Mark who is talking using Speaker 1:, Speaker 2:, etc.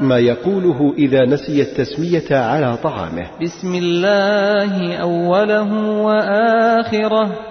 Speaker 1: ما يقوله إذا نسي التسمية على طعامه
Speaker 2: بسم الله أوله وآخره